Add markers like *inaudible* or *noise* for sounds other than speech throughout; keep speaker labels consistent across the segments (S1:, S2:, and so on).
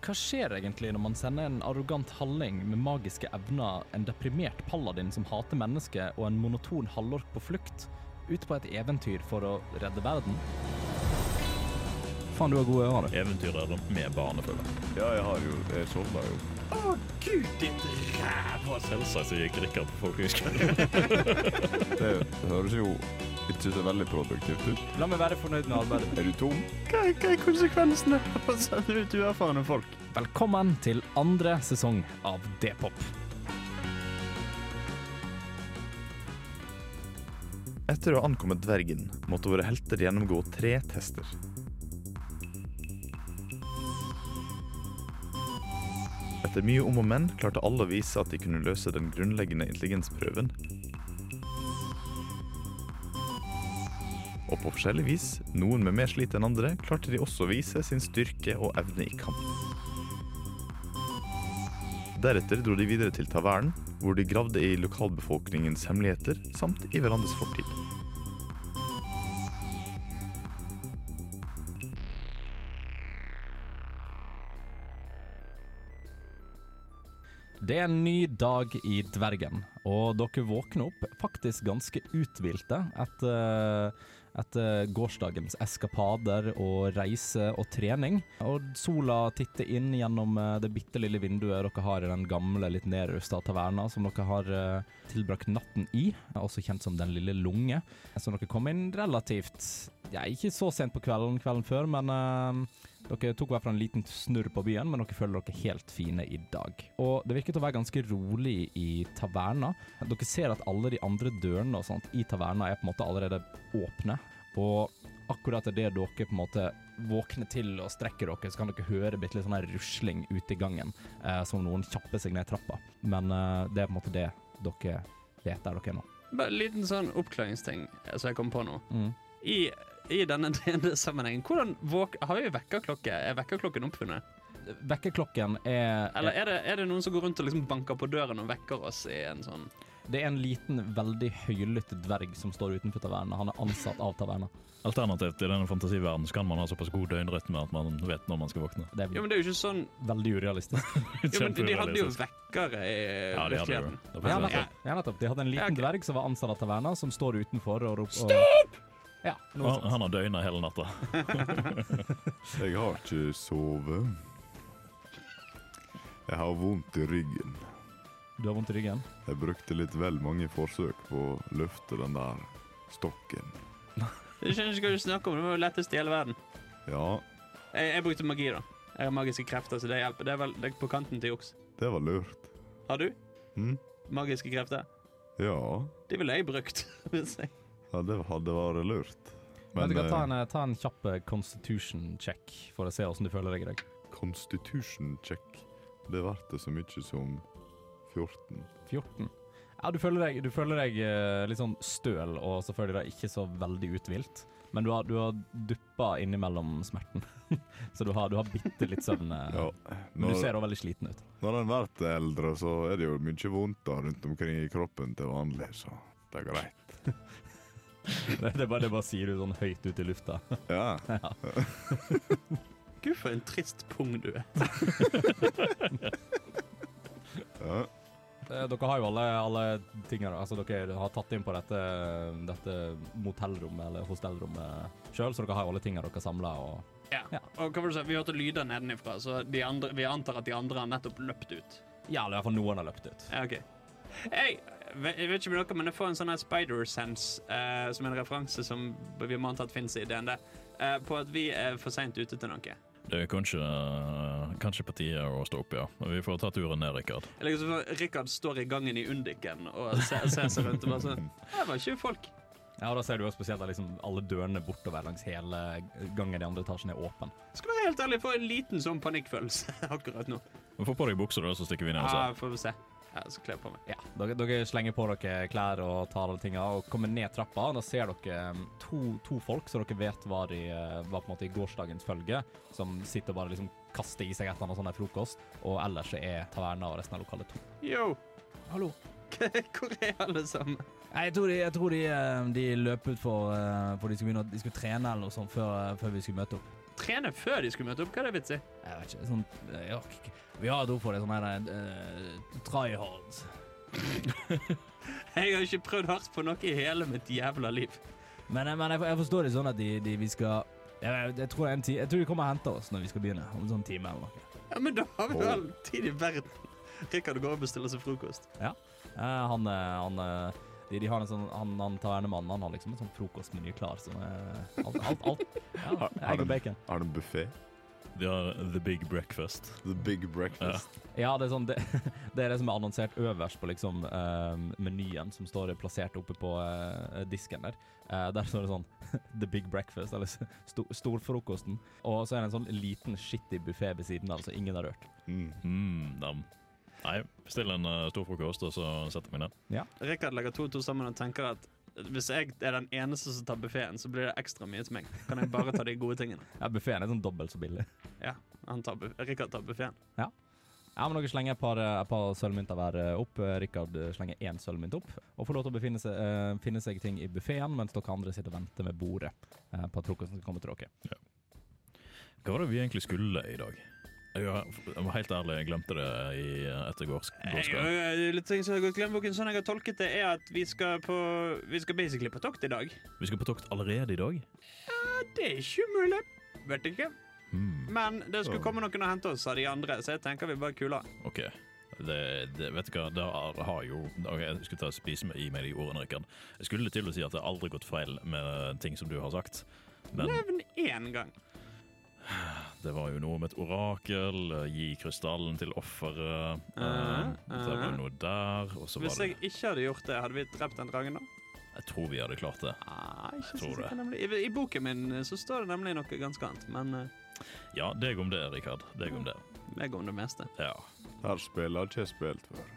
S1: Hva skjer egentlig når man sender en arrogant halling med magiske evner, en deprimert paladin som hater mennesker, og en monoton halvork på flukt, ut på et eventyr for å redde verden?
S2: Faen, du har gode ører, du.
S3: Eventyrer med barnefølger.
S4: Ja, jeg har jo Jeg sovna jo.
S3: Selvsagt så gikk Rikard på folkehøyskolen.
S4: Det høres jo ikke så veldig produktivt ut.
S2: La meg være fornøyd med arbeidet.
S4: Er du tom?
S5: Hva, er- hva er konsekvensene *laughs* Altså, av å sende ut uerfarne folk?
S1: Velkommen til andre sesong av D-pop.
S6: Etter å ha ankommet dvergen måtte våre helter gjennomgå tre tester. Etter mye om og men klarte alle å vise at de kunne løse den grunnleggende intelligensprøven. Og på forskjellig vis, noen med mer slit enn andre, klarte de også å vise sin styrke og evne i kamp. Deretter dro de videre til tavernen, hvor de gravde i lokalbefolkningens hemmeligheter samt i hverandres fortid.
S1: Det er en ny dag i Dvergen, og dere våkner opp faktisk ganske uthvilte etter, etter gårsdagens eskapader og reise og trening. Og sola titter inn gjennom eh, det bitte lille vinduet dere har i den gamle, litt nedrusta taverna som dere har eh, tilbrakt natten i, også kjent som Den lille lunge. Så dere kom inn relativt ja, ikke så sent på kvelden kvelden før, men eh, dere tok hver fra en liten snurr på byen, men dere føler dere helt fine i dag. Og det virket å være ganske rolig i taverna. Dere ser at alle de andre dørene og sånt i taverna er på en måte allerede åpne. Og akkurat idet dere på en måte våkner til og strekker dere, så kan dere høre bitte litt sånn her rusling ute i gangen, eh, som om noen kjapper seg ned trappa. Men eh, det er på en måte det dere vet der dere er nå.
S5: Bare en liten sånn oppklaringsting eh, som jeg kom på nå.
S1: Mm.
S5: I, i denne *laughs* DND-sammenhengen, hvordan våk... Har vi vekkerklokke? Er vekkerklokken oppfunnet?
S1: Vekkerklokken er
S5: Eller er det, er det noen som går rundt og liksom banker på døren og vekker oss i en sånn
S1: Det er en liten, veldig høylytt dverg som står utenfor taverna. Han er ansatt av taverna.
S3: Alternativt i denne fantasiverdenen så kan man ha såpass god døgnrytme at man vet når man skal våkne.
S1: Det er
S5: Jo, men det er jo ikke
S3: *laughs*
S5: sånn
S1: veldig urealistisk.
S5: *laughs* Jo, men de hadde jo
S3: Kjemperealistisk.
S5: vekkere i
S3: liksom. Ja, de hadde jo
S5: virkeligheten.
S3: det.
S1: Ja,
S3: Ja,
S5: men-
S1: nettopp. Ja, nettopp. De hadde en
S5: Ja,
S1: liten
S5: ok.
S1: dverg som var ansatt av taverna, som står utenfor og roper Stopp! Ja, noe
S3: Han,
S1: sånt.
S3: han har døgna hele natta.
S4: Jeg har ikke sovet. Jeg har vondt i ryggen.
S1: Du har vondt i ryggen?
S4: Jeg brukte litt vel mange forsøk på å løfte den der stokken.
S5: Jeg skjønner ikke hva du snakker om. Det var jo lettest i hele verden.
S4: Ja,
S5: Jeg, jeg brukte magi, da. Jeg har magiske krefter, så det hjelper. Det er vel det er på kanten til juks.
S4: det var lurt.
S5: Har du
S4: Hm?
S5: magiske krefter?
S4: Ja,
S5: De ville jeg brukt. *laughs* hvis jeg
S4: ja, det hadde vært lurt.
S1: Men,
S4: Men
S1: du kan ta
S4: eh,
S1: en, eh, ta en kjapp eh, constitution check for å se åssen du føler deg i dag.
S4: constitution check, det ble det så mye som 14.
S1: 14. Ja, du føler deg, du føler deg eh, litt sånn støl, og selvfølgelig da ikke så veldig uthvilt. Men du har, du har duppa innimellom smerten, *laughs* så du har, du har bitte litt søvn. eh,
S4: Ja,
S1: Men du
S4: når-
S1: ser også veldig sliten ut.
S4: Når en blir eldre, så er det jo mye vondt da rundt omkring i kroppen til vanlig, så det er
S1: *laughs*
S4: greit.
S1: Det, det, bare, det bare sier du sånn høyt ut i lufta.
S4: Ja.
S5: Gud, for en trist pung du er.
S4: ja.
S1: *laughs* Eh, Dere har jo alle, alle tingene. Altså, dere har tatt inn på dette, dette motellrommet eller hostellrommet sjøl, så dere har jo alle tingene dere samla. Og...
S5: Ja.
S1: Ja.
S5: Og hva var det du sa? Vi hørte lyder nedenifra, så de andre, vi antar at de andre har nettopp løpt ut.
S1: Ja, eller i hvert fall noen har løpt ut.
S5: Ja, ok. Jeg, ve- jeg vet ikke med dere, men jeg får en sånn her spider-sense, eh, som er en referanse som vi må antatt finnes i DND, eh, på at vi er for seint ute til noe.
S3: Det er kanskje, kanskje på tide å stå opp, ja. Vi får ta turen ned, Rikard.
S5: Eller liksom sånn, Rikard står i gangen i Undiken og ser, ser seg rundt og bare sånn Her var ikke folk.
S1: Ja, og Da ser du jo spesielt at liksom, alle dørene bortover langs hele gangen i andre etasjen er åpen.
S5: Skal være helt ærlig, jeg får en liten sånn panikkfølelse *laughs* akkurat nå.
S3: Men Få på deg buksa, da, så stikker vi ned og
S5: Ja,
S3: ser.
S5: får vi se. Jeg skal kle på meg.
S1: Ja, dere, dere slenger på dere klær og tar alle tinga og kommer ned trappa. og Da ser dere mm, to, to folk som dere vet var, i, eh, var på en måte i gårsdagens følge, som sitter og bare liksom kaster i seg et eller annet sånn der frokost. Og ellers så er taverna og resten av lokalet tom.
S5: Yo, *laughs*
S1: Hallo.
S5: hvor er alle sammen?
S7: Nei, jeg tror de, jeg tror de, eh, de løp ut for, eh, for de skulle begynne å de skulle trene eller noe sånt før, eh, før vi skulle møte opp.
S5: trene før de skulle møte opp? Hva er det vits i?
S1: Jeg vet ikke, sånn jeg orker ikke. Vi har et ord for det, sånn her uh, tryhards.
S5: Jeg har ikke prøvd hardt på noe i hele mitt jævla liv.
S1: Men, eh, men jeg, jeg forstår det sånn at de, de, vi skal jeg, jeg, jeg, tror det er en ti, jeg tror de kommer og henter oss når vi skal begynne, om en sånn time eller noe.
S5: Ja, Men da har vi jo all tid i verden. Rikard går og bestiller seg frokost.
S1: Eh, han eh, han eh, de, de har en sånn, han, han tavernemannen han har liksom en sånn frokostmeny klar. Sånn, eh, alt, alt, alt. Ja,
S4: har
S1: egg
S4: de-
S1: og bacon.
S4: Har de buffé?
S5: Ah.
S3: De har The Big Breakfast.
S4: The big breakfast.
S1: Ja, det er, sånn, det, *laughs* det er det som er annonsert øverst på liksom, eh, menyen som står plassert oppe på eh, disken der. Eh, der står det sånn *laughs* The Big Breakfast, eller sto, storfrokosten. Og så er det en sånn liten shitty buffé ved siden av, så ingen har rørt.
S4: Mm.
S3: Mm, nam. Nei, bestill en eh, stor frokost, og så setter jeg meg ned.
S5: Rikard legger to og to sammen og tenker at hvis jeg er den eneste som tar buffeen, så blir det ekstra mye til meg. Kan jeg bare ta de gode tingene?
S1: Ja, Buffeen er sånn dobbelt så billig.
S5: Ja, han tar bu- Rikard tar buffeen.
S1: Ja, men Dere slenger et par, eh, et par sølvmynter hver eh, opp. Eh, Rikard eh, slenger én sølvmynt opp. Og får lov til å befinne seg, eh, finne seg ting i buffeen, mens dere andre sitter og venter med bordet eh, på at frokosten skal komme til dere.
S3: Hva var det vi egentlig skulle i dag? Jeg var jeg var helt ærlig, jeg glemte det i eh, etter gårs-
S5: Jeg,
S3: gårsdagen.
S5: jeg- litt ting som har gått glemt boken. Sånn jeg har tolket det, er at vi skal, på, vi skal basically på tokt i dag.
S3: Vi skal på tokt allerede i dag.
S5: Det er ikke umulig. Vet ikke.
S3: Hmm,
S5: Men det skulle komme noen og hente oss av de andre, så jeg tenker vi bare kuler.
S3: OK. Det, det, vet du hva, det har, har jo ok, Jeg skulle ta og spise med, i meg de ordene, Rikard. Jeg skulle til å si at det har aldri gått feil med ting som du har sagt. Men
S5: Nevn én gang.
S3: det var jo noe med et orakel, eh, gi krystallen til offeret eh,
S5: Mhm,
S3: Det var
S5: mhm.
S3: jo noe der, og så var
S5: Hvis jeg
S3: det
S5: ikke hadde gjort det, hadde vi drept den dragen da?
S3: Jeg tror vi hadde klart det.
S5: Ah, ikke
S3: Tror
S5: så
S3: det.
S5: sikker nemlig. I, I boken min eh, så står det nemlig noe ganske annet, men eh,
S3: Ja, deg om det, Rikard. Deg om det.
S5: jeg går om det meste. *laughs*
S3: Ja.
S4: Her spillet har ikke jeg spilt før.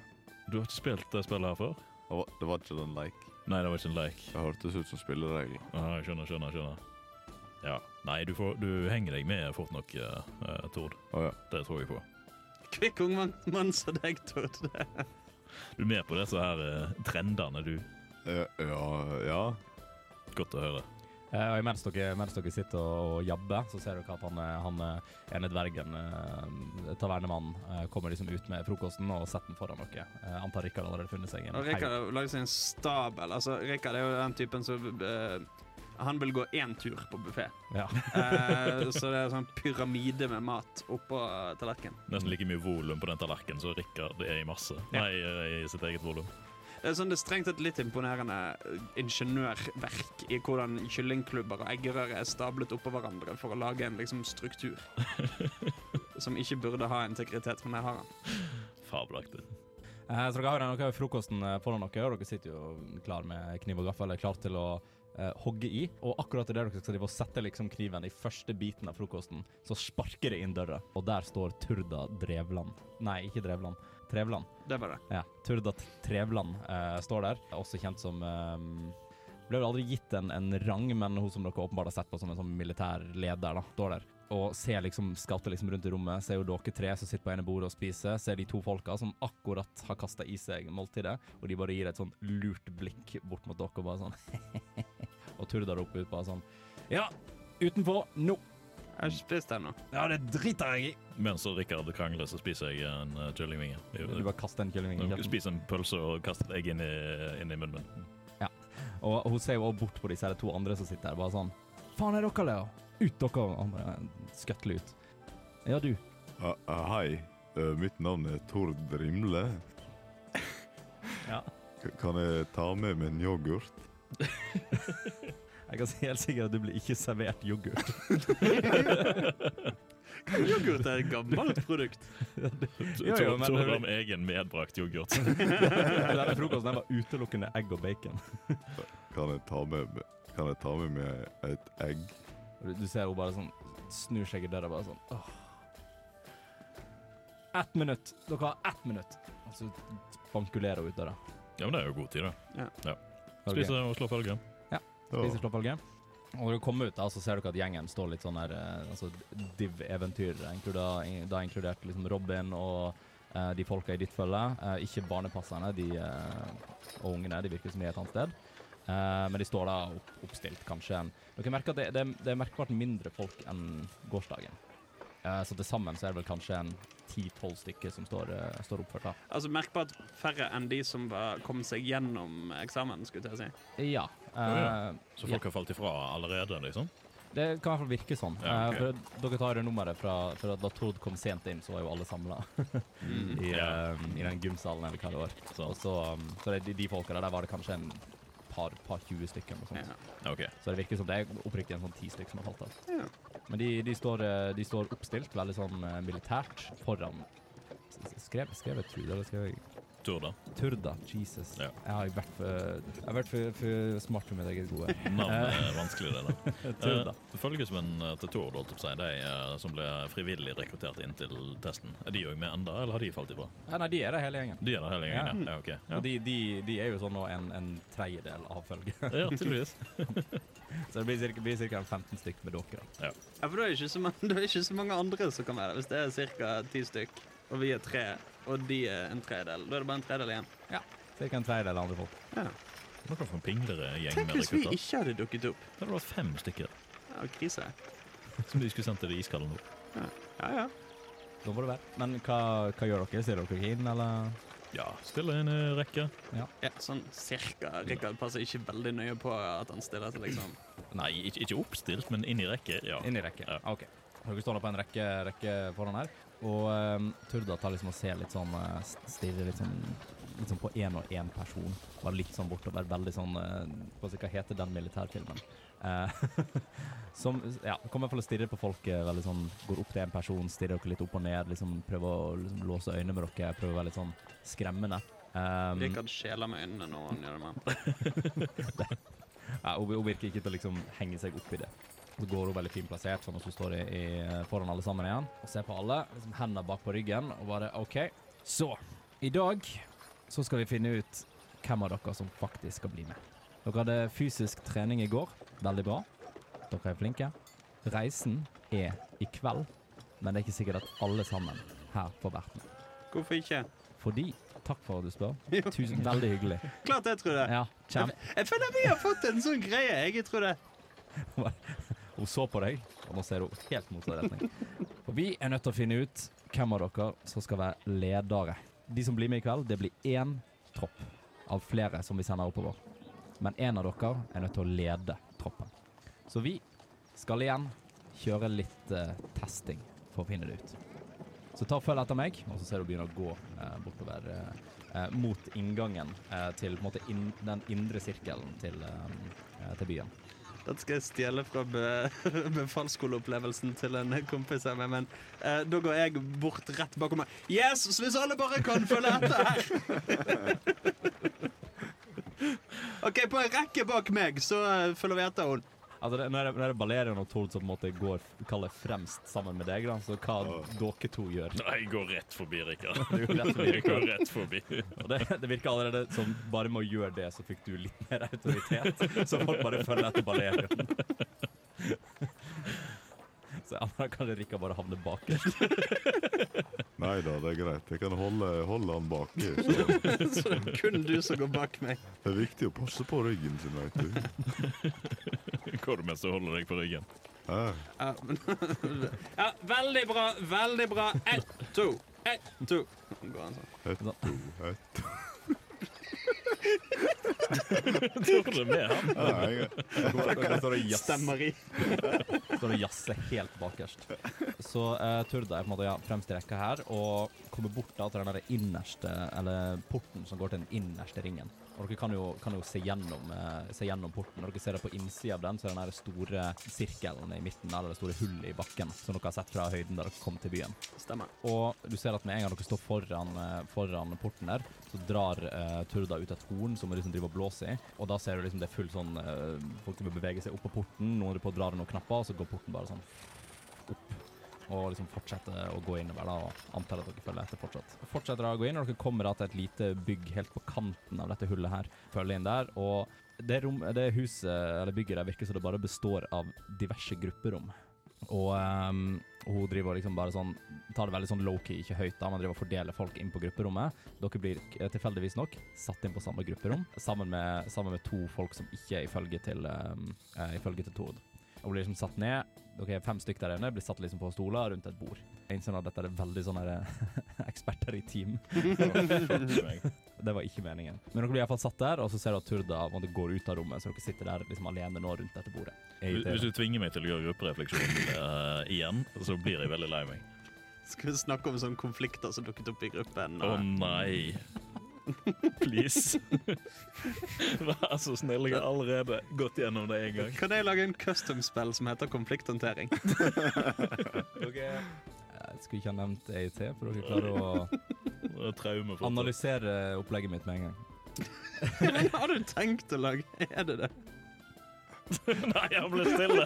S3: Du har ikke spilt det spillet her før?
S4: Det var, det var ikke den leik.
S3: Nei, det var ikke en lek.
S4: Det hørtes ut som spilleregler.
S3: Ah, jeg skjønner, skjønner, skjønner. Ja. Nei, du, får, du henger deg med fort nok, eh, eh, Tord.
S4: Å ja.
S3: Det tror jeg på.
S5: Kvikk ung mann, mann som deg, Tord.
S3: Du er med på disse her eh, trendene, du.
S4: Eh, Ja, ja.
S3: Godt å høre.
S1: Eh, og mens dere, mens dere sitter og, og jabber, så ser dere at han, eh, han eh, ene dvergen, eh, tavernemannen, eh, kommer liksom ut med frokosten og setter den foran dere. Eh, antar Rikard har allerede funnet seg en
S5: Og Rikard har laget seg en stabel. Altså, Rikard er jo den typen som eh, Han vil gå én tur på buffé. *laughs*
S1: Ja.
S5: så det er sånn pyramide med mat oppå tallerkenen.
S3: Nesten like mye volum på den tallerkenen som Rikard er i masse.
S5: Ja.
S3: Nei, eh, i sitt eget volum.
S5: Det er sånn det er strengt tatt litt imponerende eh, ingeniørverk i hvordan kyllingklubber og eggerøre er stablet oppå hverandre for å lage en liksom struktur. Som ikke burde ha integritet, men jeg har den.
S3: Fabelaktig.
S1: Eh, så dere har, dere har jo frokosten eh, foran dere, og dere sitter jo klar med kniv og gaffel, eller klar til å eh, hogge i. Og akkurat idet dere skal drive og sette liksom kniven i første biten av frokosten, så sparker det inn døra, og der står Turda Drevland. Nei, ikke Drevland. Trevland.
S5: Det var det.
S1: Ja, Turdat Trevland eh, står der, også kjent som eh, Ble vel aldri gitt en, en rang, men hun som dere åpenbart har sett på som en sånn militær leder, da, står der. Og ser liksom, skatter liksom rundt i rommet, ser jo dere tre som sitter på ene bordet og spiser, ser de to folka som akkurat har kasta i seg måltidet, og de bare gir et sånn lurt blikk bort mot dere og bare sånn *laughs* Og Turda roper ut bare sånn Ja, utenfor, nå!
S5: Jeg har ikke spist ennå.
S1: Ja, det driter jeg i!
S3: Mens Rikard krangler, så spiser jeg en eh, kyllingvinge.
S1: Du bare kaster en kylling i
S3: Jeg
S1: kjeften.
S3: Spiser en pølse og kaster et egg inn i, inn i munnen min.
S1: Og hun ser jo også bort på disse her to andre som sitter der, bare sånn Faen er dere, Leo? Ut dere! Og Han bare skøtler ut. Ja, du.
S4: Eh, eh, hei. Eh, mitt navn er Tord Rimle.
S1: *laughs* Ja.
S4: K kan jeg ta med meg en yoghurt?
S1: Jeg kan si helt sikkert at du blir ikke servert yoghurt.
S5: Yoghurt er et gammelt produkt.
S1: Jo, jo, men-
S3: Tord har med egen medbrakt
S1: *laughs*
S3: yoghurt.
S1: *laughs* Denne frokosten den var utelukkende egg og bacon.
S4: Kan jeg ta med meg, kan jeg ta med meg et egg?
S1: Og Du, du ser hun bare sånn snur seg i døra bare sånn Åh. Ett minutt! Dere har ett minutt! Og så spankulerer hun ut døra.
S3: Ja, men det er jo god tid, da.
S1: Ok.
S3: Spise og slå følge.
S1: Spiser slåpalge. Og når du kommer ut, da, så ser dere at gjengen står litt sånn her eh, altså, div-eventyr. Da, da inkludert liksom Robin og eh, de folka i ditt følge. Eh, ikke barnepasserne de, eh, og ungene. De virker som de er et annet sted. Eh, men de står da opp, oppstilt, kanskje. En. Dere merker at det, det, det er merkbart mindre folk enn gårsdagen. Eh, så til sammen så er det vel kanskje en ti-tolv stykker som står, eh, står oppført. da.
S5: Altså Merkbart færre enn de som var, kom seg gjennom eksamen. skulle jeg si.
S1: Ja.
S3: ja.
S1: eh,
S3: Så folk har falt ifra allerede, liksom?
S1: Det kan i hvert fall virke sånn.
S3: Ja, ok.
S1: Eh, for dere tar jo nummeret fra for at da Tord kom sent inn, så var jo alle samla
S5: Mm.
S1: i,
S3: Mm. Ja.
S1: eh, i den gymsalen. eller hva det var. Og
S3: Sånn.
S1: så, um, så det, de, de folka der, der var det kanskje en par, par 20 stykker. eller Noe sånt.
S5: Ja.
S3: OK.
S1: Så det virker som det er oppriktig en sånn ti stykker som har falt av.
S5: Ja.
S1: Men de, de, står, eh, de står oppstilt, veldig sånn eh, militært, foran s- s- Skrev, skrev jeg Tord, eller skrev jeg
S3: Tur, da.
S1: Turda? Jesus.
S3: Ja.
S1: Jeg har vært for, jeg har vært for, for smart for mitt eget gode. Eh,
S3: Navn er vanskelig, det. *laughs* da.
S1: Tur, da.
S3: Eh, Følgesmennene til Tord, holdt jeg på å si, de eh, som ble frivillig rekruttert inn til testen, er de òg med enda, eller har de falt ifra?
S1: Ja, nei, de er der hele gjengen.
S3: De er der hele gjengen, ja. ja, ok.
S1: Og
S3: ja.
S1: de, de, de er jo sånn nå en, en tredjedel av følget. *laughs*
S3: Ja, tydeligvis.
S1: Så det blir cirka, blir cirka en 15 stykker med dere. da.
S5: Ja, for det er ikke så mange, det er ikke så mange andre som kan være der. Hvis det er ca. ti stykk, og vi er tre, og de er en tredel, da er det bare en tredel igjen.
S1: Cirka en tredjedel av andre folk.
S5: Ja.
S3: Noe for en pingleregjeng
S5: Tenk
S3: med
S5: hvis vi
S3: rekrutter.
S5: ikke hadde dukket opp.
S3: Det hadde vært fem stykker
S5: Ja, krise.
S3: som de skulle sendt til det iskalde nå.
S5: Ja, ja.
S1: Da må det være. Men hva, hva gjør dere? Ser dere inn, eller?
S3: Ja, stille inn i rekke.
S5: ja sånn cirka. Rikard passer ikke veldig nøye på at han stiller seg, liksom.
S3: Nei, ikke, ikke oppstilt, men inn i rekke. Ja.
S1: Inn i rekke.
S3: Ja.
S1: OK. Dere står nå på en rekke, rekke foran her. Og ehm, Turda tar liksom og ser litt sånn eh, s- Stirrer litt sånn litt sånn på én og én person. Bare litt sånn bortover. Veldig sånn eh, Hva skal- hva heter den militærfilmen? Eh, *laughs* som ja, kommer i hvert fall og stirrer på folket. Veldig sånn Går opp til en person, stirrer dere litt opp og ned. Liksom Prøver å liksom, låse øynene med dere. Prøver å være litt sånn skremmende. Ehm,
S5: Rikard skjeler med øynene når han gjør det med han.
S1: Ja, hun, hun virker ikke til å liksom henge seg opp i det. Så går hun veldig fint plassert, sånn at hun står i, i, foran alle sammen igjen og ser på alle. Liksom hendene bak på ryggen og bare OK. Så i dag så skal vi finne ut hvem av dere som faktisk skal bli med. Dere hadde fysisk trening i går. Veldig bra. Dere er flinke. Reisen er i kveld, men det er ikke sikkert at alle sammen her får vært med.
S5: Hvorfor ikke?
S1: Fordi Takk for at du spør.
S5: Jo.
S1: Tusen, Veldig hyggelig.
S5: Klart jeg tror det.
S1: Ja, kjem.
S5: Jeg føler vi har fått en sånn greie. Jeg tror det.
S1: Hun så på deg, og nå ser hun helt motsatt retning. For vi er nødt til å finne ut hvem av dere som skal være ledere. De som blir med i kveld, det blir én tropp av flere som vi sender oppover. Men én av dere er nødt til å lede troppen. Så vi skal igjen kjøre litt eh, testing for å finne det ut. Så ta og følg etter meg, og så ser du begynner å gå eh, bortover eh, eh, mot inngangen eh, til på en måte inn, den indre sirkelen til, eh, eh, til byen.
S5: Dette skal jeg stjele fra be *laughs* befalsskoleopplevelsen til en kompis av meg, men eh, da går jeg bort rett bakom meg. Yes, så hvis alle bare kan følge etter her! *laughs* OK, på en rekke bak meg, så eh, følger vi etter henne.
S1: Altså, det, når, det, når det er Balerion og Tord som på en måte går kaller fremst sammen med deg, da, så hva dere to gjør
S3: Nei, jeg går rett forbi, Rikard.
S1: *laughs*
S3: *laughs*
S1: det, går rett
S3: Jeg
S1: forbi
S3: går
S1: dere.
S3: rett forbi.
S1: og det, det virker allerede som bare med å gjøre det, så fikk du litt mer autoritet. Så folk bare følger etter Balerion. *laughs* Så ja, da kan Rikka bare havne bakerst.
S4: Nei da, det er greit. Jeg kan holde, holde han baki.
S1: *laughs*
S4: Så.
S5: *laughs* Så det er kun du som går bak meg.
S4: Det er viktig å passe på ryggen sin, veit
S1: *laughs*
S4: du.
S3: Går du mens du holder deg på ryggen?
S4: Hæ?
S5: Ja, men, *laughs* ja, veldig bra, veldig bra. Ett, to, ett, to. Nå Går han sånn.
S4: Ett,
S1: Sånn.
S4: to, ett.
S3: *laughs* Tror du med han?
S4: Nei, jeg-
S1: Dere står og jazzer-
S5: Stemmer i.
S1: står og jazzer helt bakerst. Så eh, Turda er på en måte ja, fremst i rekka her og kommer bort da til den der innerste, eller porten som går til den innerste ringen. Og dere kan jo, kan jo se, gjennom, eh, se gjennom porten. Når dere ser det på innsida av den, så er den der store sirkelen i midten der, eller det store hullet i bakken som dere har sett fra høyden da dere kom til byen.
S5: Stemmer.
S1: Og du ser at med en gang dere står foran, eh, foran porten der, så drar eh, Turda ut et horn som hun liksom driver og blåser i. Og da ser du liksom det er full sånn eh, Folk vil bevege seg opp på porten, noen holder på å dra i noen knapper, og så går porten bare sånn opp. Og liksom fortsetter å gå innover, da, og antar at dere følger etter fortsatt. Fortsetter da å gå inn, og dere kommer da til et lite bygg helt på kanten av dette hullet her. Følger inn der, og det, rom, det eh, huset, eller bygget der, virker som det bare består av diverse grupperom. Og ehm, Og hun driver liksom bare sånn Tar det veldig sånn low-key, ikke høyt, da, men driver og fordeler folk inn på grupperommet. Dere blir eh, tilfeldigvis nok satt inn på samme grupperom, sammen med, sammen med to folk som ikke er ifølge til, um, eh, ifølge til Tord. Og blir liksom satt ned. Dere er fem stykker der inne, blir satt liksom på stoler rundt et bord. Jeg innser nå at dette er veldig sånn her, eh, *laughs* eksperter i team. Det var ikke meningen. Men dere blir iallfall satt der, og så ser du at Turda på en måte, går ut av rommet, så dere sitter der liksom alene nå rundt dette bordet. Jeg
S3: Hvis
S1: irriterer.
S3: du tvinger meg til å gjøre grupperefleksjon eh, igjen, så blir jeg veldig lei meg.
S5: Skal vi snakke om sånne konflikter som dukket opp i gruppen?
S3: Å
S5: og-
S3: nei. *laughs* Please. Vær så snill, jeg har allerede gått gjennom det en gang.
S5: Kan jeg lage en custom-spill som heter *laughs* konflikthåndtering?
S1: Jeg Eh, skulle ikke ha nevnt EIT, for dere klarer å
S3: Det er Traume for
S1: analysere opplegget mitt med en gang.
S5: Men har du tenkt å lage *laughs* Er det det?
S3: *laughs* Nei, han ble stille.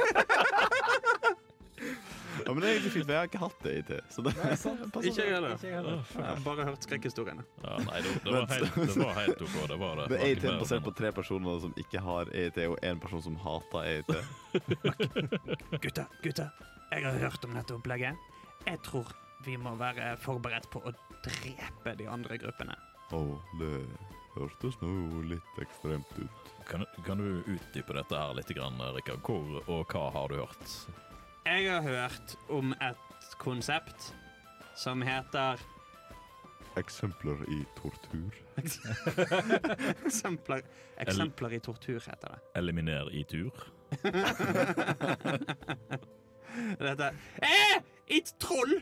S4: Ja, men det er egentlig fint, for jeg har ikke hatt det i til. Så det passer
S5: Ikke jeg
S4: bra.
S5: heller. Jeg har bare hørt skrekkhistoriene.
S3: Ja, nei, det, det, var helt, det var helt OK. Det var *laughs*
S4: Det
S3: det.
S4: er
S3: Var ikke
S4: EIT
S3: mer
S4: basert på
S3: enn-
S4: tre personer som ikke har EIT, og én person som hater EIT.
S5: Gutter, gutter. Jeg har hørt om dette opplegget. Jeg tror vi må være forberedt på å drepe de andre gruppene.
S4: Å, det hørtes nå litt ekstremt ut.
S3: Kan, kan du utdype dette her litt, grann, Rikard? Hvor og hva har du hørt?
S5: Jeg har hørt om et konsept som *laughs* heter
S4: Eksempler i tortur.
S5: Eksempler, eksempler i tortur, heter det.
S3: Eliminer i tur?
S5: *laughs* Dette eh, Et troll!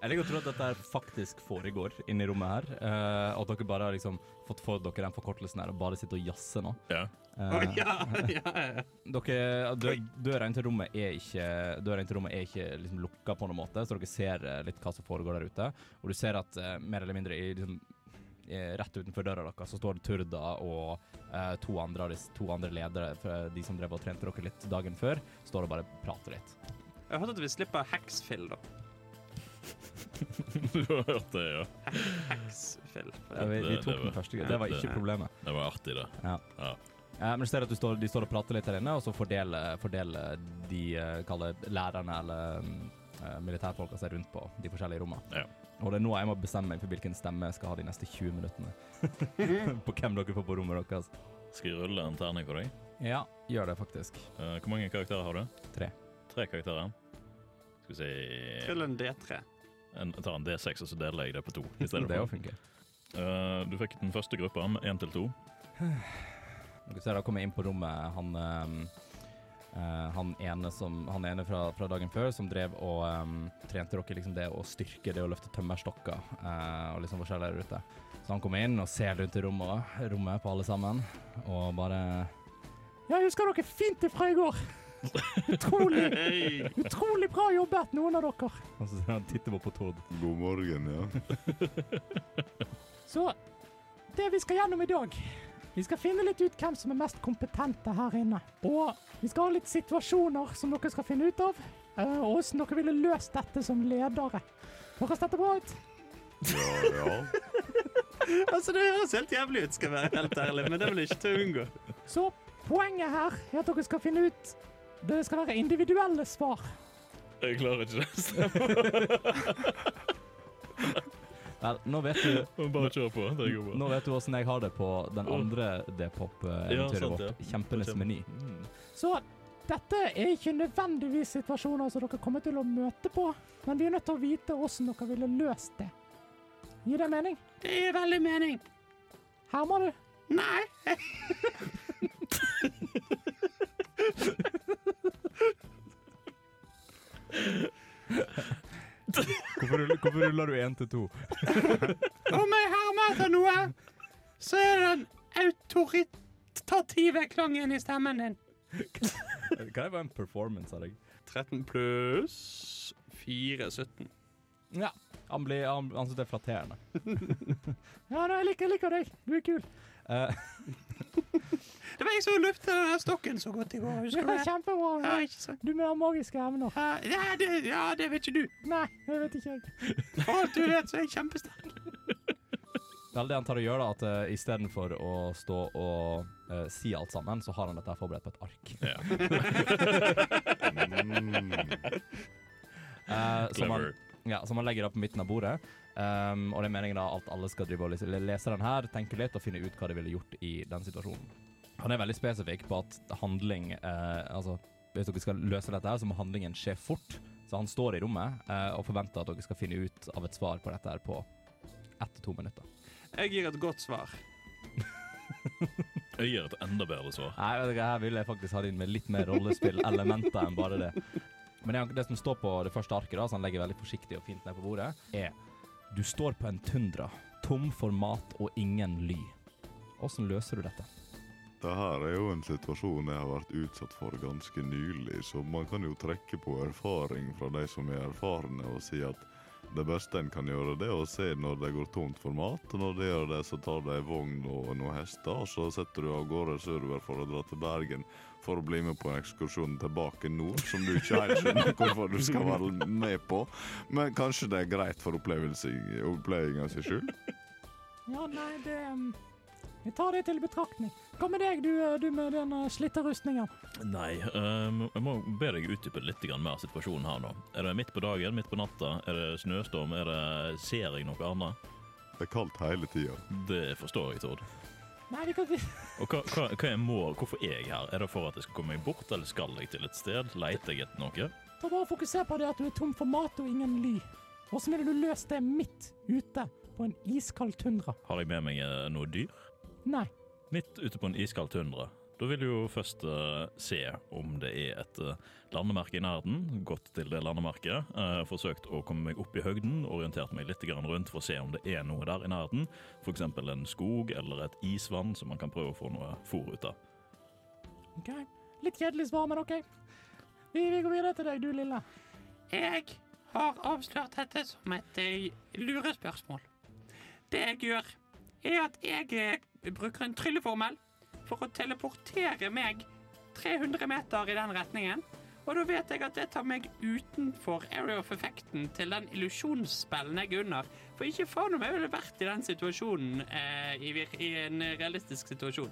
S1: Jeg liker å tro at dette her faktisk foregår inne i rommet her, eh, og at dere bare har liksom fått for dere den forkortelsen her og bare sitter og jazzer nå.
S3: Ja. *laughs*
S1: Eh,
S5: Å, *laughs* ja, ja, ja.
S1: dere, dø, døra inn til rommet er ikke, døra inn til rommet er ikke liksom lukka på noen måte, så dere ser eh, litt hva som foregår der ute. Og du ser at eh, mer eller mindre i, liksom, eh, rett utenfor døra deres så står det Turda og eh, to, andre, av disse- to andre ledere, fra de som drev og trente dere litt dagen før, står og bare prater litt.
S5: Jeg har hørt at vi slipper hexfill, da.
S3: Du har hørt det, ja.
S5: Hexfill.
S1: Ja, vi, vi
S3: Det- det
S1: tok
S3: var-
S1: den første, det var
S3: det-
S1: ikke problemet.
S3: Det var artig, det.
S1: Ja.
S3: Ja.
S1: Eh, men du ser at du står, de står og prater litt her inne, og så fordeler, fordeler de eh, kaller lærerne eller mm, eh, militærfolka seg rundt på de forskjellige rommene.
S3: Ja.
S1: Og det er nå jeg må bestemme meg for hvilken stemme jeg skal ha de neste 20 minuttene. *laughs* på hvem dere får på rommet deres.
S3: Skal jeg rulle en terning for deg?
S1: Ja, gjør det faktisk.
S3: Eh, hvor mange karakterer har du?
S1: Tre.
S3: Tre karakterer. Skal vi si
S5: Til en D3.
S3: en, Jeg tar en D6, og så deler jeg det på to. i
S1: *laughs* Det
S3: stedet
S1: jo
S3: for.
S1: funker.
S3: Eh, du fikk den første gruppa med én til to.
S1: Dere ser da kommer jeg inn på rommet han ehm, eh, han ene, som, han ene fra, fra dagen før som drev og ehm, trente dere liksom det å styrke det å løfte tømmerstokker eh, og liksom forskjellig der ute. Så han kommer inn og ser rundt i rommet, rommet på alle sammen og bare Jeg husker dere fint ifra i *laughs* går! Utrolig, utrolig bra jobbet, noen av dere. Og så ser han titter på Tord.
S4: God morgen, ja.
S1: Så det vi skal gjennom i dag Vi skal finne litt ut hvem som er mest kompetente her inne. Og vi skal ha litt situasjoner som dere skal finne ut av. eh, Og hvordan dere ville løst dette som ledere. Høres dette bra ut?
S4: Ja, ja.
S5: Altså, Det høres helt jævlig ut, skal jeg være helt ærlig, men det er vel ikke til å unngå.
S1: Så poenget her er at dere skal finne ut Det skal være individuelle svar.
S3: Jeg klarer ikke det.
S1: Vel, nå vet du
S3: Bare kjør på. Det går bra.
S1: Nå vet du åssen jeg har det på den andre D-pop-eventyret
S3: Ja, sant,
S1: vårt. Kjempenes
S3: Kjempe-
S1: meny.
S3: Mm.
S7: Så dette er ikke nødvendigvis situasjoner som dere kommer til å møte på, men vi er nødt til å vite hvordan dere ville løst det. Gir det mening?
S5: Det gir veldig mening.
S7: Hermer du?
S5: Nei.
S1: Hvorfor ruller, hvorfor ruller du én til to?
S5: Om jeg hermer etter noe, så er det den autoritative klangen i stemmen din.
S1: Kan jeg få en performance av deg?
S5: 13 pluss 4, 17.
S1: Ja. Han, blir, han, han synes det er flatterende.
S7: Ja, nei, jeg liker, jeg liker deg. Du er kul.
S1: Eh,
S5: Det var jeg som løftet den der stokken så godt i går,
S7: Det
S5: husker du
S7: var
S5: det? Ja,
S7: kjempebra.
S5: ikke sant?
S7: Du med de magiske evner.
S5: Ja, ja, det, ja, det vet ikke du.
S7: Nei, det vet ikke jeg.
S5: For alt du vet, så er jeg kjempesterk.
S1: eh, Vel, det han tar og gjør, da, at uh, istedenfor å stå og eh, si alt sammen, så har han dette her forberedt på et ark.
S3: Ja.
S1: *laughs* Eh, som, han,
S3: Clever.
S1: ja, som han legger da på midten av bordet. Ehm, og det er meningen da at alle skal drive og lese, lese den her, tenke litt og finne ut hva de ville gjort i den situasjonen. Han er veldig spesifikk på at handling eh, Altså, hvis dere skal løse dette, her, så må handlingen skje fort. Så han står i rommet eh, og forventer at dere skal finne ut av et svar på dette her på ett til to minutter.
S8: Jeg gir et godt svar.
S3: Jeg gir et enda bedre svar.
S1: Nei, vet dere, her vil jeg faktisk ha det inn med litt mer rollespillelementer enn bare det. Men det, han- det som står på det første arket, da, som han legger veldig forsiktig og fint ned på bordet, er Du står på en tundra, tom for mat og ingen ly. Åssen løser du dette?
S4: Det her er jo en situasjon jeg har vært utsatt for ganske nylig, så man kan jo trekke på erfaring fra de som er erfarne, og si at det beste en kan gjøre, det er å se når det går tomt for mat. og Når det gjør det, så tar de ei vogn og noen hester, og så setter du av gårde sørover for å dra til Bergen for å bli med på en ekskursjon tilbake nord, som du ikke helt skjønner hvorfor du skal være med på. Men kanskje det er greit for opplevelse- opplevelsen av seg sjøl?
S7: Ja, nei, det um, Vi tar det til betraktning. Hva med deg, du, eh, du med den eh, slitte rustningen?
S3: Nei, ehm, jeg må be deg utdype litt grann mer situasjonen her nå. Er det midt på dagen, midt på natta? Er det snøstorm? Er det, ser jeg noe annet?
S4: Det er kaldt hele tida.
S3: Det forstår jeg, Tord.
S7: Nei, vi kan
S3: Og hva, hva, hva jeg må, hvorfor er jeg her? Er det for at jeg skal komme meg bort, eller skal jeg til et sted? Leter jeg etter noe?
S7: Ta bare og fokuser på det at du er tom for mat og ingen ly. Hvordan ville du løst det midt ute på en iskald tundra?
S3: Har jeg med meg eh, noe dyr?
S7: Nei.
S3: Midt ute på en iskald tundra. Da vil du jo først eh, se om det er et eh, landemerke i nærheten. Gått til det landemerket. eh, forsøkt å komme meg opp i høgden. Orientert meg litt grann rundt for å se om det er noe der i nærheten. F.eks. en skog eller et isvann som man kan prøve å få noe fôr ut av.
S7: ok. Litt kjedelig svar, men OK. Vi, vi går videre til deg, du lille.
S5: Jeg har avslørt dette som et eh, lurespørsmål. Det jeg gjør, er at jeg eh, bruker en trylleformel for å teleportere meg 300 meter i den retningen. Og da vet jeg at det tar meg utenfor area of effecten til den illusjonsspellen jeg er under. For ikke faen om jeg ville vært i den situasjonen eh, i, vir i en realistisk situasjon.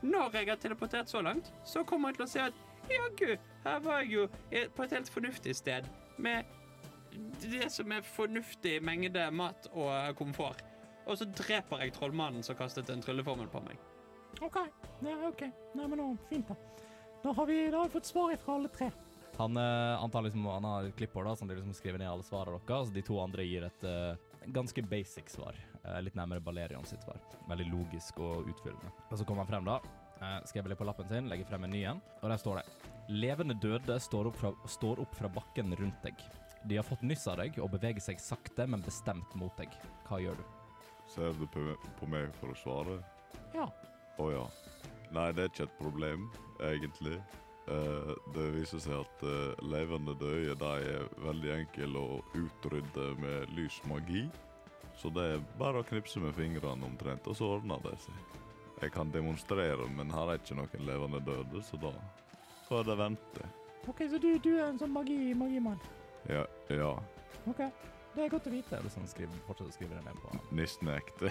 S5: Når jeg har teleportert så langt, så kommer jeg til å se at Jaggu, her var jeg jo eh, på et helt fornuftig sted. Med det som er fornuftig mengde mat og eh, komfort. Og så dreper jeg trollmannen som kastet en trylleformel på meg.
S7: OK. Ja, ok. Nei, men nå, fint, da. Da har vi, da har vi fått svar fra alle tre.
S1: Han, eh, antar liksom, han har et klippord da, som de liksom skriver ned alle svarene deres. Så de to andre gir et eh, ganske basic svar. Eh, litt nærmere Balerion sitt svar. Veldig logisk og utfyllende. Og så kommer han frem, da. Eh, skriver litt på lappen sin, legger frem en ny en, og der står det Levende døde står opp, fra, står opp fra bakken rundt deg. De har fått nyss av deg og beveger seg sakte, men bestemt mot deg. Hva gjør du?
S4: Ser du på, på meg for å svare?
S7: Ja.
S4: Å ja. Nei, det er ikke et problem, egentlig. Eh, det viser seg at eh, levende døde de er veldig enkle å utrydde med lys magi. Så det er bare å knipse med fingrene omtrent, og så ordner det seg. Jeg kan demonstrere, men her er ikke noen levende døde, så da får de vente.
S7: OK, så du, du er en sånn magi, magimann.
S4: Ja, ja.
S7: OK. Det er godt å vite.
S1: Det er liksom skriv, fortsatt å skrive det ned på han.
S4: Nissen er ekte.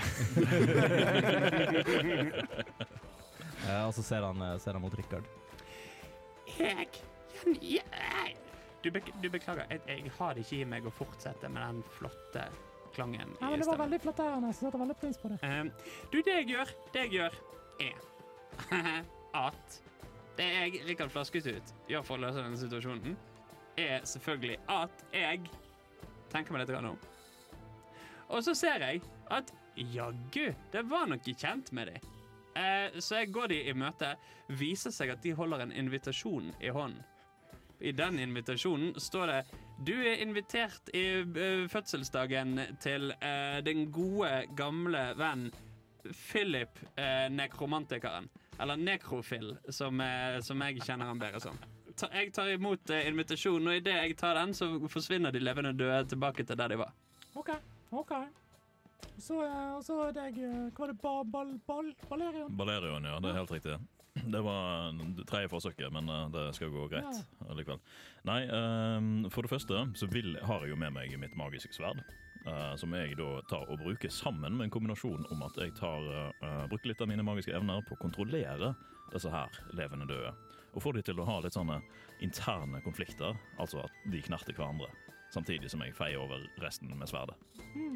S1: Eh, og så ser han, eh, ser han mot Richard. *clears throat*
S5: Jeg, jeg, jeg. Du, bek du beklager, jeg, jeg har det ikke i meg å fortsette med den flotte klangen.
S7: Ja,
S5: i
S7: men det var
S5: stemmen.
S7: veldig flatterende. Jeg setter veldig pris på det.
S5: Ehm, du, det jeg gjør, det jeg gjør, er *laughs* at det jeg Rikard flasket ut, gjør for å løse denne situasjonen, er selvfølgelig at jeg tenker meg litt grann om. Og så ser jeg at jaggu, det var noe kjent med de. Eh, så jeg går de i møte. Viser seg at de holder en invitasjon i hånden. I den invitasjonen står det Du er invitert i eh, fødselsdagen til eh, den gode, gamle venn Philip eh, nekromantikeren. Eller nekrofil, som, eh, som jeg kjenner han bedre som. Ta, jeg tar imot eh, invitasjonen, og idet jeg tar den, så forsvinner de levende døde tilbake til der de var.
S7: OK. OK. Så, eh, og så deg eh, Hva var det? Ba, ball, ball, Balerion?
S3: Balerion, ja. Det er helt riktig. Det var det tredje forsøket, men eh, det skal gå greit allikevel. Nei, ehm, for det første så vil, har jeg jo med meg mitt magiske sverd. eh, som jeg da tar og bruker sammen med en kombinasjon om at jeg tar, eh, eh, bruker litt av mine magiske evner på å kontrollere disse her levende døde. Og får de til å ha litt sånne interne konflikter, altså at de knerter hverandre. Samtidig som jeg feier over resten med sverdet.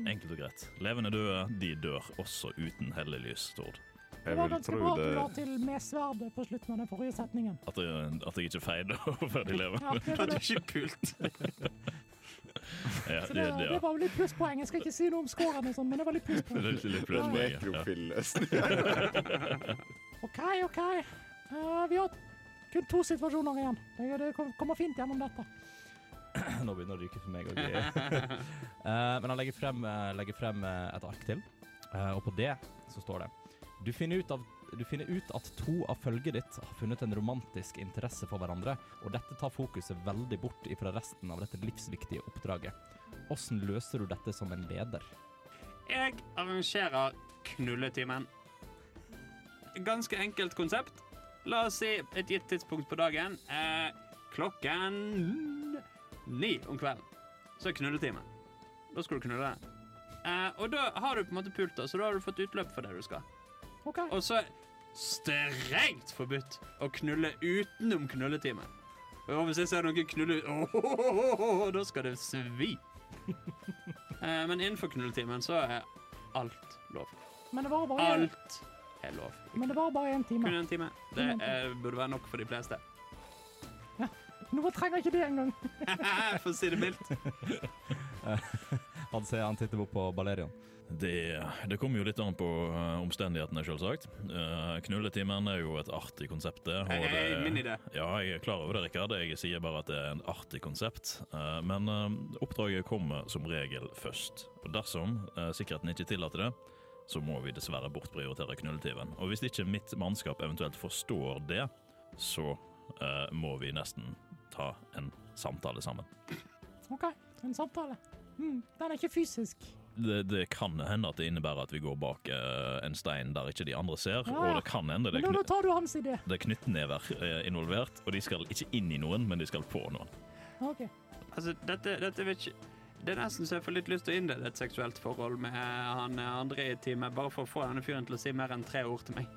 S3: Enkelt og greit. Levende døde, de dør også uten helliglys, Tord.
S7: Det
S4: Jeg
S7: var
S4: vil
S7: ganske
S4: tro
S7: bra at du la
S4: det
S7: til med sverdet på slutten av den forrige setningen.
S3: At jeg, at jeg ikke *laughs* feier over før de lever.
S7: Ja, det, var det.
S5: Ikke pult.
S3: Ja,
S7: Så
S3: det,
S7: det,
S3: det,
S7: det var vel litt plusspoeng. Jeg skal ikke si noe om scoren, og sånn, men det var litt
S3: ja. *laughs*
S7: plusspoeng.
S3: det er litt
S4: Den
S3: plutselig. Ja.
S4: nekrofil-løsning.
S7: OK, OK. Eh, vi har kun to situasjoner igjen. Det, det kom- kommer fint gjennom dette.
S1: Nå begynner det å ryke for meg òg.
S5: *laughs*
S1: men han legger frem, eh, legger frem eh, et ark til, Eh, og på det så står det du finner, ut av, du finner ut at to av følget ditt har funnet en romantisk interesse for hverandre, og dette tar fokuset veldig bort ifra resten av dette livsviktige oppdraget. Åssen løser du dette som en leder?
S9: Jeg arrangerer knulletimen.
S5: Ganske enkelt konsept.
S9: La oss si et gitt tidspunkt på dagen. Eh, klokken ni om kvelden. Så er knulletimen. Da skal du knulle. Eh, og da har du på en måte pulta, så da har du fått utløp for det du skal.
S7: OK.
S9: Og så er strengt forbudt å knulle utenom knulletimen. Og hvis jeg ser noen knulle Åååå, Da skal det svi. Eh, men innenfor knulletimen så er alt lov.
S7: Men det var bare,
S9: Alt er lov.
S7: men det var bare én time.
S9: Kun en time. Det eh, burde være nok for de fleste.
S7: Noe trenger ikke det engang. *laughs*
S9: For å si det mildt.
S1: Han, ser, han titter bort på Balerion.
S3: Det, det kommer jo litt an på eh, omstendighetene, selvsagt. Eh, Knulletimen er jo et artig konsept, det. og
S9: Hei, hei,
S3: det-
S9: min idé.
S3: Ja, jeg er klar over det, Rikard. Jeg sier bare at det er en artig konsept. Eh, Men eh, oppdraget kommer som regel først. Og dersom eh, sikkerheten ikke tillater det, så må vi dessverre bortprioritere knulletimen. Og hvis ikke mitt mannskap eventuelt forstår det, så eh, må vi nesten ta en samtale sammen.
S7: OK, en samtale. Mm, den er ikke fysisk.
S3: Det, det kan hende at det innebærer at vi går bak eh, en stein der ikke de andre ser,
S7: Ja.
S3: og det kan hende det
S7: Men
S3: er,
S7: da, da
S3: kny
S7: tar du hans idé.
S3: det er knyttnever eh, involvert, og de skal ikke inn i noen, men de skal på noen.
S7: OK.
S5: Altså, dette, dette vil ikke Det er nesten så jeg får litt lyst til å innlede et seksuelt forhold med han andre i teamet, bare for å få denne fyren til å si mer enn tre ord til meg.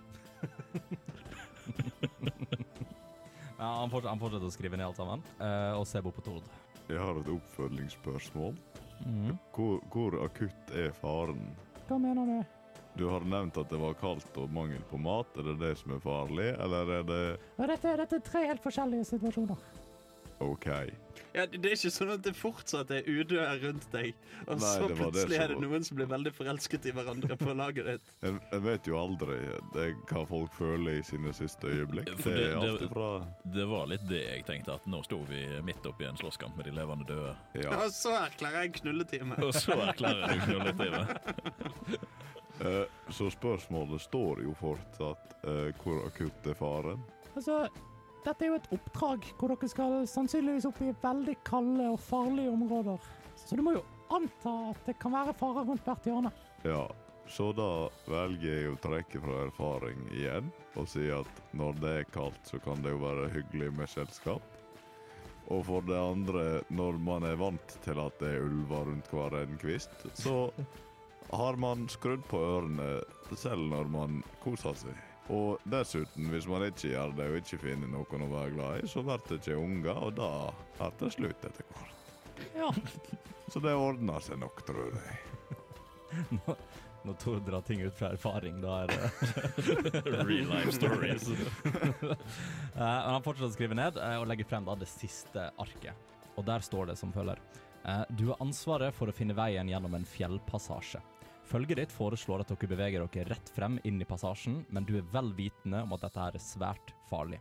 S1: Ja, han, fortsetter, han fortsetter å skrive ned alt sammen, eh, og ser bort på Tord.
S4: Jeg har et oppfølgingsspørsmål.
S1: Mhm.
S4: Hvor, hvor akutt er faren?
S7: Hva mener du?
S4: Du har nevnt at det var kaldt og mangel på mat. Er det det som er farlig, eller er det
S7: Ja, Dette, dette er tre helt forskjellige situasjoner.
S4: OK?
S5: Ja, det det er ikke sånn at det fortsatt er udøde rundt deg, og
S4: Nei,
S5: så
S4: det var det
S5: plutselig
S4: som
S5: er det
S4: var-
S5: noen som blir veldig forelsket i hverandre på laget ditt.
S4: Jeg, jeg vet jo aldri det, hva folk føler i sine siste øyeblikk.
S3: For
S4: Det
S3: det-
S4: er alt
S3: det-
S4: ifra
S3: Det var litt det jeg tenkte, at nå sto vi midt oppi en slåsskamp med de levende døde.
S4: Ja.
S5: Og så erklærer jeg knulletime.
S3: Og så erklærer du knulletimen.
S4: Eh, Så spørsmålet står jo fortsatt eh, hvor akutt er faren.
S7: Altså, dette er jo et oppdrag hvor dere skal sannsynligvis opp i veldig kalde og farlige områder. Så du må jo anta at det kan være farer rundt hvert hjørne.
S4: Ja. Så da velger jeg å trekke fra erfaring igjen og si at når det er kaldt, så kan det jo være hyggelig med selskap. Og for det andre, når man er vant til at det er ulver rundt hver en kvist, så har man skrudd på ørene selv når man koser seg. Og dessuten, hvis man ikke gjør det og ikke finner noen å være glad i, så blir det ikke unger, og da blir det slutt etter hvert.
S7: Ja.
S4: Så det ordner seg nok, tror jeg.
S1: Når, *laughs* når Tord drar ting ut fra erfaring, da er det
S3: *laughs* Real life stories.
S1: Eh, men han fortsetter å skrive ned eh, og legger frem da det siste arket. Og der står det som følger. Eh, du har ansvaret for å finne veien gjennom en fjellpassasje. Følget ditt foreslår at dere beveger dere rett frem inn i passasjen, men du er vel vitende om at dette her er svært farlig.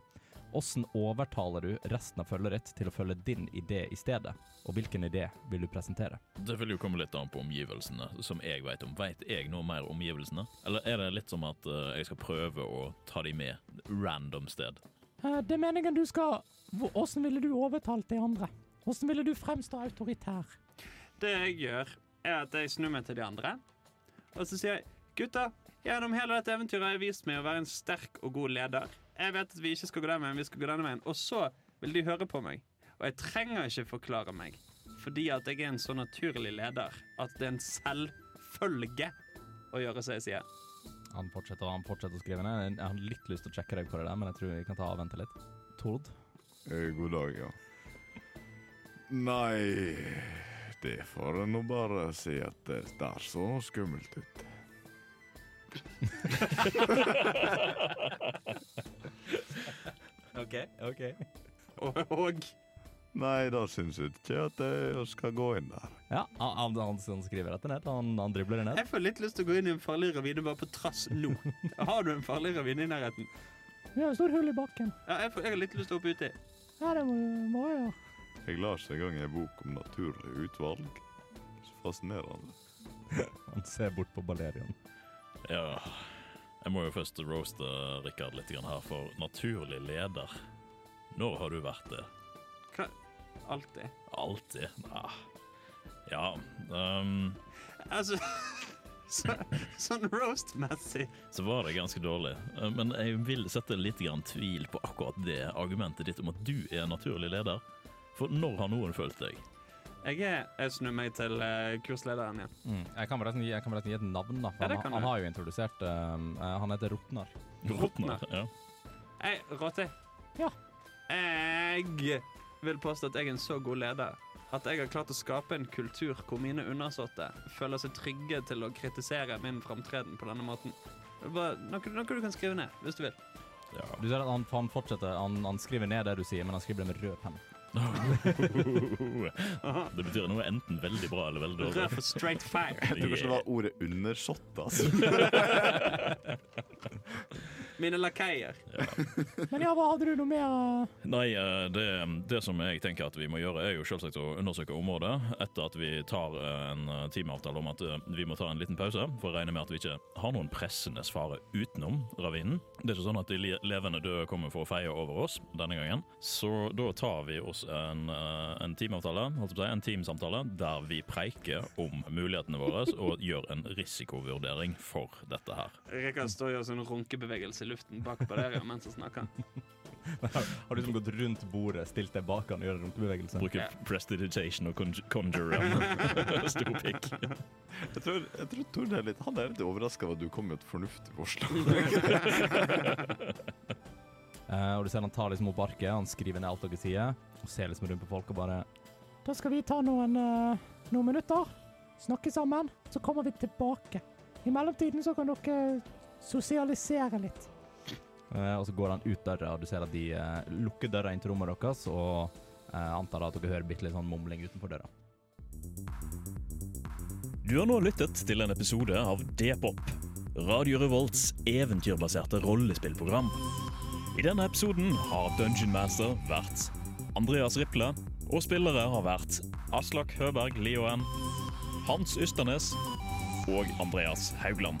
S1: Hvordan overtaler du resten av følget ditt til å følge din idé i stedet? Og hvilken idé vil du presentere?
S3: Det vil jo komme litt an på omgivelsene, som jeg veit om. Veit jeg noe mer om omgivelsene? Eller er det litt som at eh, jeg skal prøve å ta de med random sted?
S7: Eh, Det er meningen du skal hvor- Hvordan ville du overtalt de andre? Hvordan ville du fremstå autoritær?
S9: Det jeg gjør, er at jeg snur meg til de andre. Og så sier jeg, gutta, gjennom hele dette eventyret har jeg vist meg å være en sterk og god leder. Jeg vet at vi ikke skal gå den veien, vi skal gå denne veien. Og så vil de høre på meg. Og jeg trenger ikke forklare meg.
S5: fordi at jeg er en så naturlig leder at det er en selvfølge å gjøre som jeg sier.
S1: Han fortsetter han fortsetter å skrive ned. Jeg har litt lyst til å sjekke deg på det der, men jeg tror vi kan ta og vente litt. Tord,
S4: Eh, God dag, ja. Nei Det får jeg nå bare si at det der så skummelt ut.
S5: Og, og
S4: Nei, da syns jeg ikke at jeg skal gå inn der.
S1: Ja, han, han, han- han skriver dette ned. Han, han dribler det ned.
S5: jeg får litt lyst til å gå inn i en farlig ravine bare på trass nå. Har du en farlig ravine i nærheten?
S7: Ja, det står et hull i bakken.
S5: Ja, jeg, får, jeg har litt lyst til å hoppe uti.
S7: Ja, det må må jeg gjøre.
S4: Jeg leste en gang en bok om naturlig utvalg. Så fascinerende.
S1: Han ser bort på Balerion.
S3: Ja. Jeg må jo først roaste Rikard litt grann her, for naturlig leder Når har du vært det?
S5: Hva? Alltid.
S3: Alltid? Nei. Ja ehm,
S5: Altså *laughs* så, Sånn roast-messig.
S3: så var det ganske dårlig. Eh, Men jeg vil sette litt grann tvil på akkurat det argumentet ditt om at du er naturlig leder. For når har noen følt deg?
S5: Jeg, er- jeg snur meg til eh, kurslederen igjen.
S1: Mm. Jeg kan forresten gi, jeg kan forresten gi et navn, da. for
S5: Ja, det
S1: han,
S5: kan
S1: han
S5: du.
S1: har jo introdusert eh, eh, Han heter Rotnar.
S5: Rotner.
S3: Ja.
S5: Hei, Rotte.
S7: Ja.
S5: Jeg vil påstå at jeg er en så god leder at jeg har klart å skape en kultur hvor mine undersåtte føler seg trygge til å kritisere min framtreden på denne måten. Det er bare Noe, noe du kan skrive ned, hvis du vil.
S3: ja.
S1: Du ser at han, han fortsetter. Han, han skriver ned det du sier, men han skriver det med rød penn.
S3: Det betyr noe enten veldig bra eller veldig
S5: Rød
S3: dårlig.
S5: for straight fire.
S6: Jeg tror kanskje det var ordet undersått,
S4: *laughs*
S6: altså.
S5: Mine lakeier.
S7: Men ja, hva hadde du noe mer eh,
S3: Nei, eh, det, det som jeg tenker at vi må gjøre, er jo selvsagt å undersøke området etter at vi tar eh, en eh, timeavtale om at eh, vi må ta en liten pause, for å regne med at vi ikke har noen pressende fare utenom ravinen. Det er ikke sånn at de le- levende døde kommer for å feie over oss denne gangen. Så da tar vi oss en, eh, en timeavtale, holdt jeg på å si, en teamsamtale, der vi preiker om mulighetene våre og gjør en risikovurdering for dette her.
S5: Rikard står og gjør sånn runkebevegelse i luften bak på dere mens han snakker.
S1: Har du liksom gått rundt bordet, stilt deg bak han og gjør en runkebevegelse?
S3: Bruker
S5: Ja.
S3: prestidigitation og conj- conjure en *laughs* stor pikk.
S6: Jeg tror, jeg tror Tord er litt Han er litt overraska over at du kom med et fornuftig forslag.
S1: Eh, og du ser han tar liksom opp arket, han skriver ned alt dere sier, og ser liksom rundt på folk og bare
S7: Da skal vi ta noen, eh, noen minutter, snakke sammen, så kommer vi tilbake. I mellomtiden så kan dere eh, sosialisere litt.
S1: Eh, Og så går han ut døra, og du ser at de eh, lukker døra inn til rommet deres, og eh, antar da at dere hører bitte litt sånn mumling utenfor døra.
S3: Du har nå lyttet til en episode av D-pop, Radio Revolts eventyrbaserte rollespillprogram. I denne episoden har Dungeon Master vært Andreas Riple, og spillere har vært Aslak Høberg Lioen, Hans Ysternes og Andreas Haugland.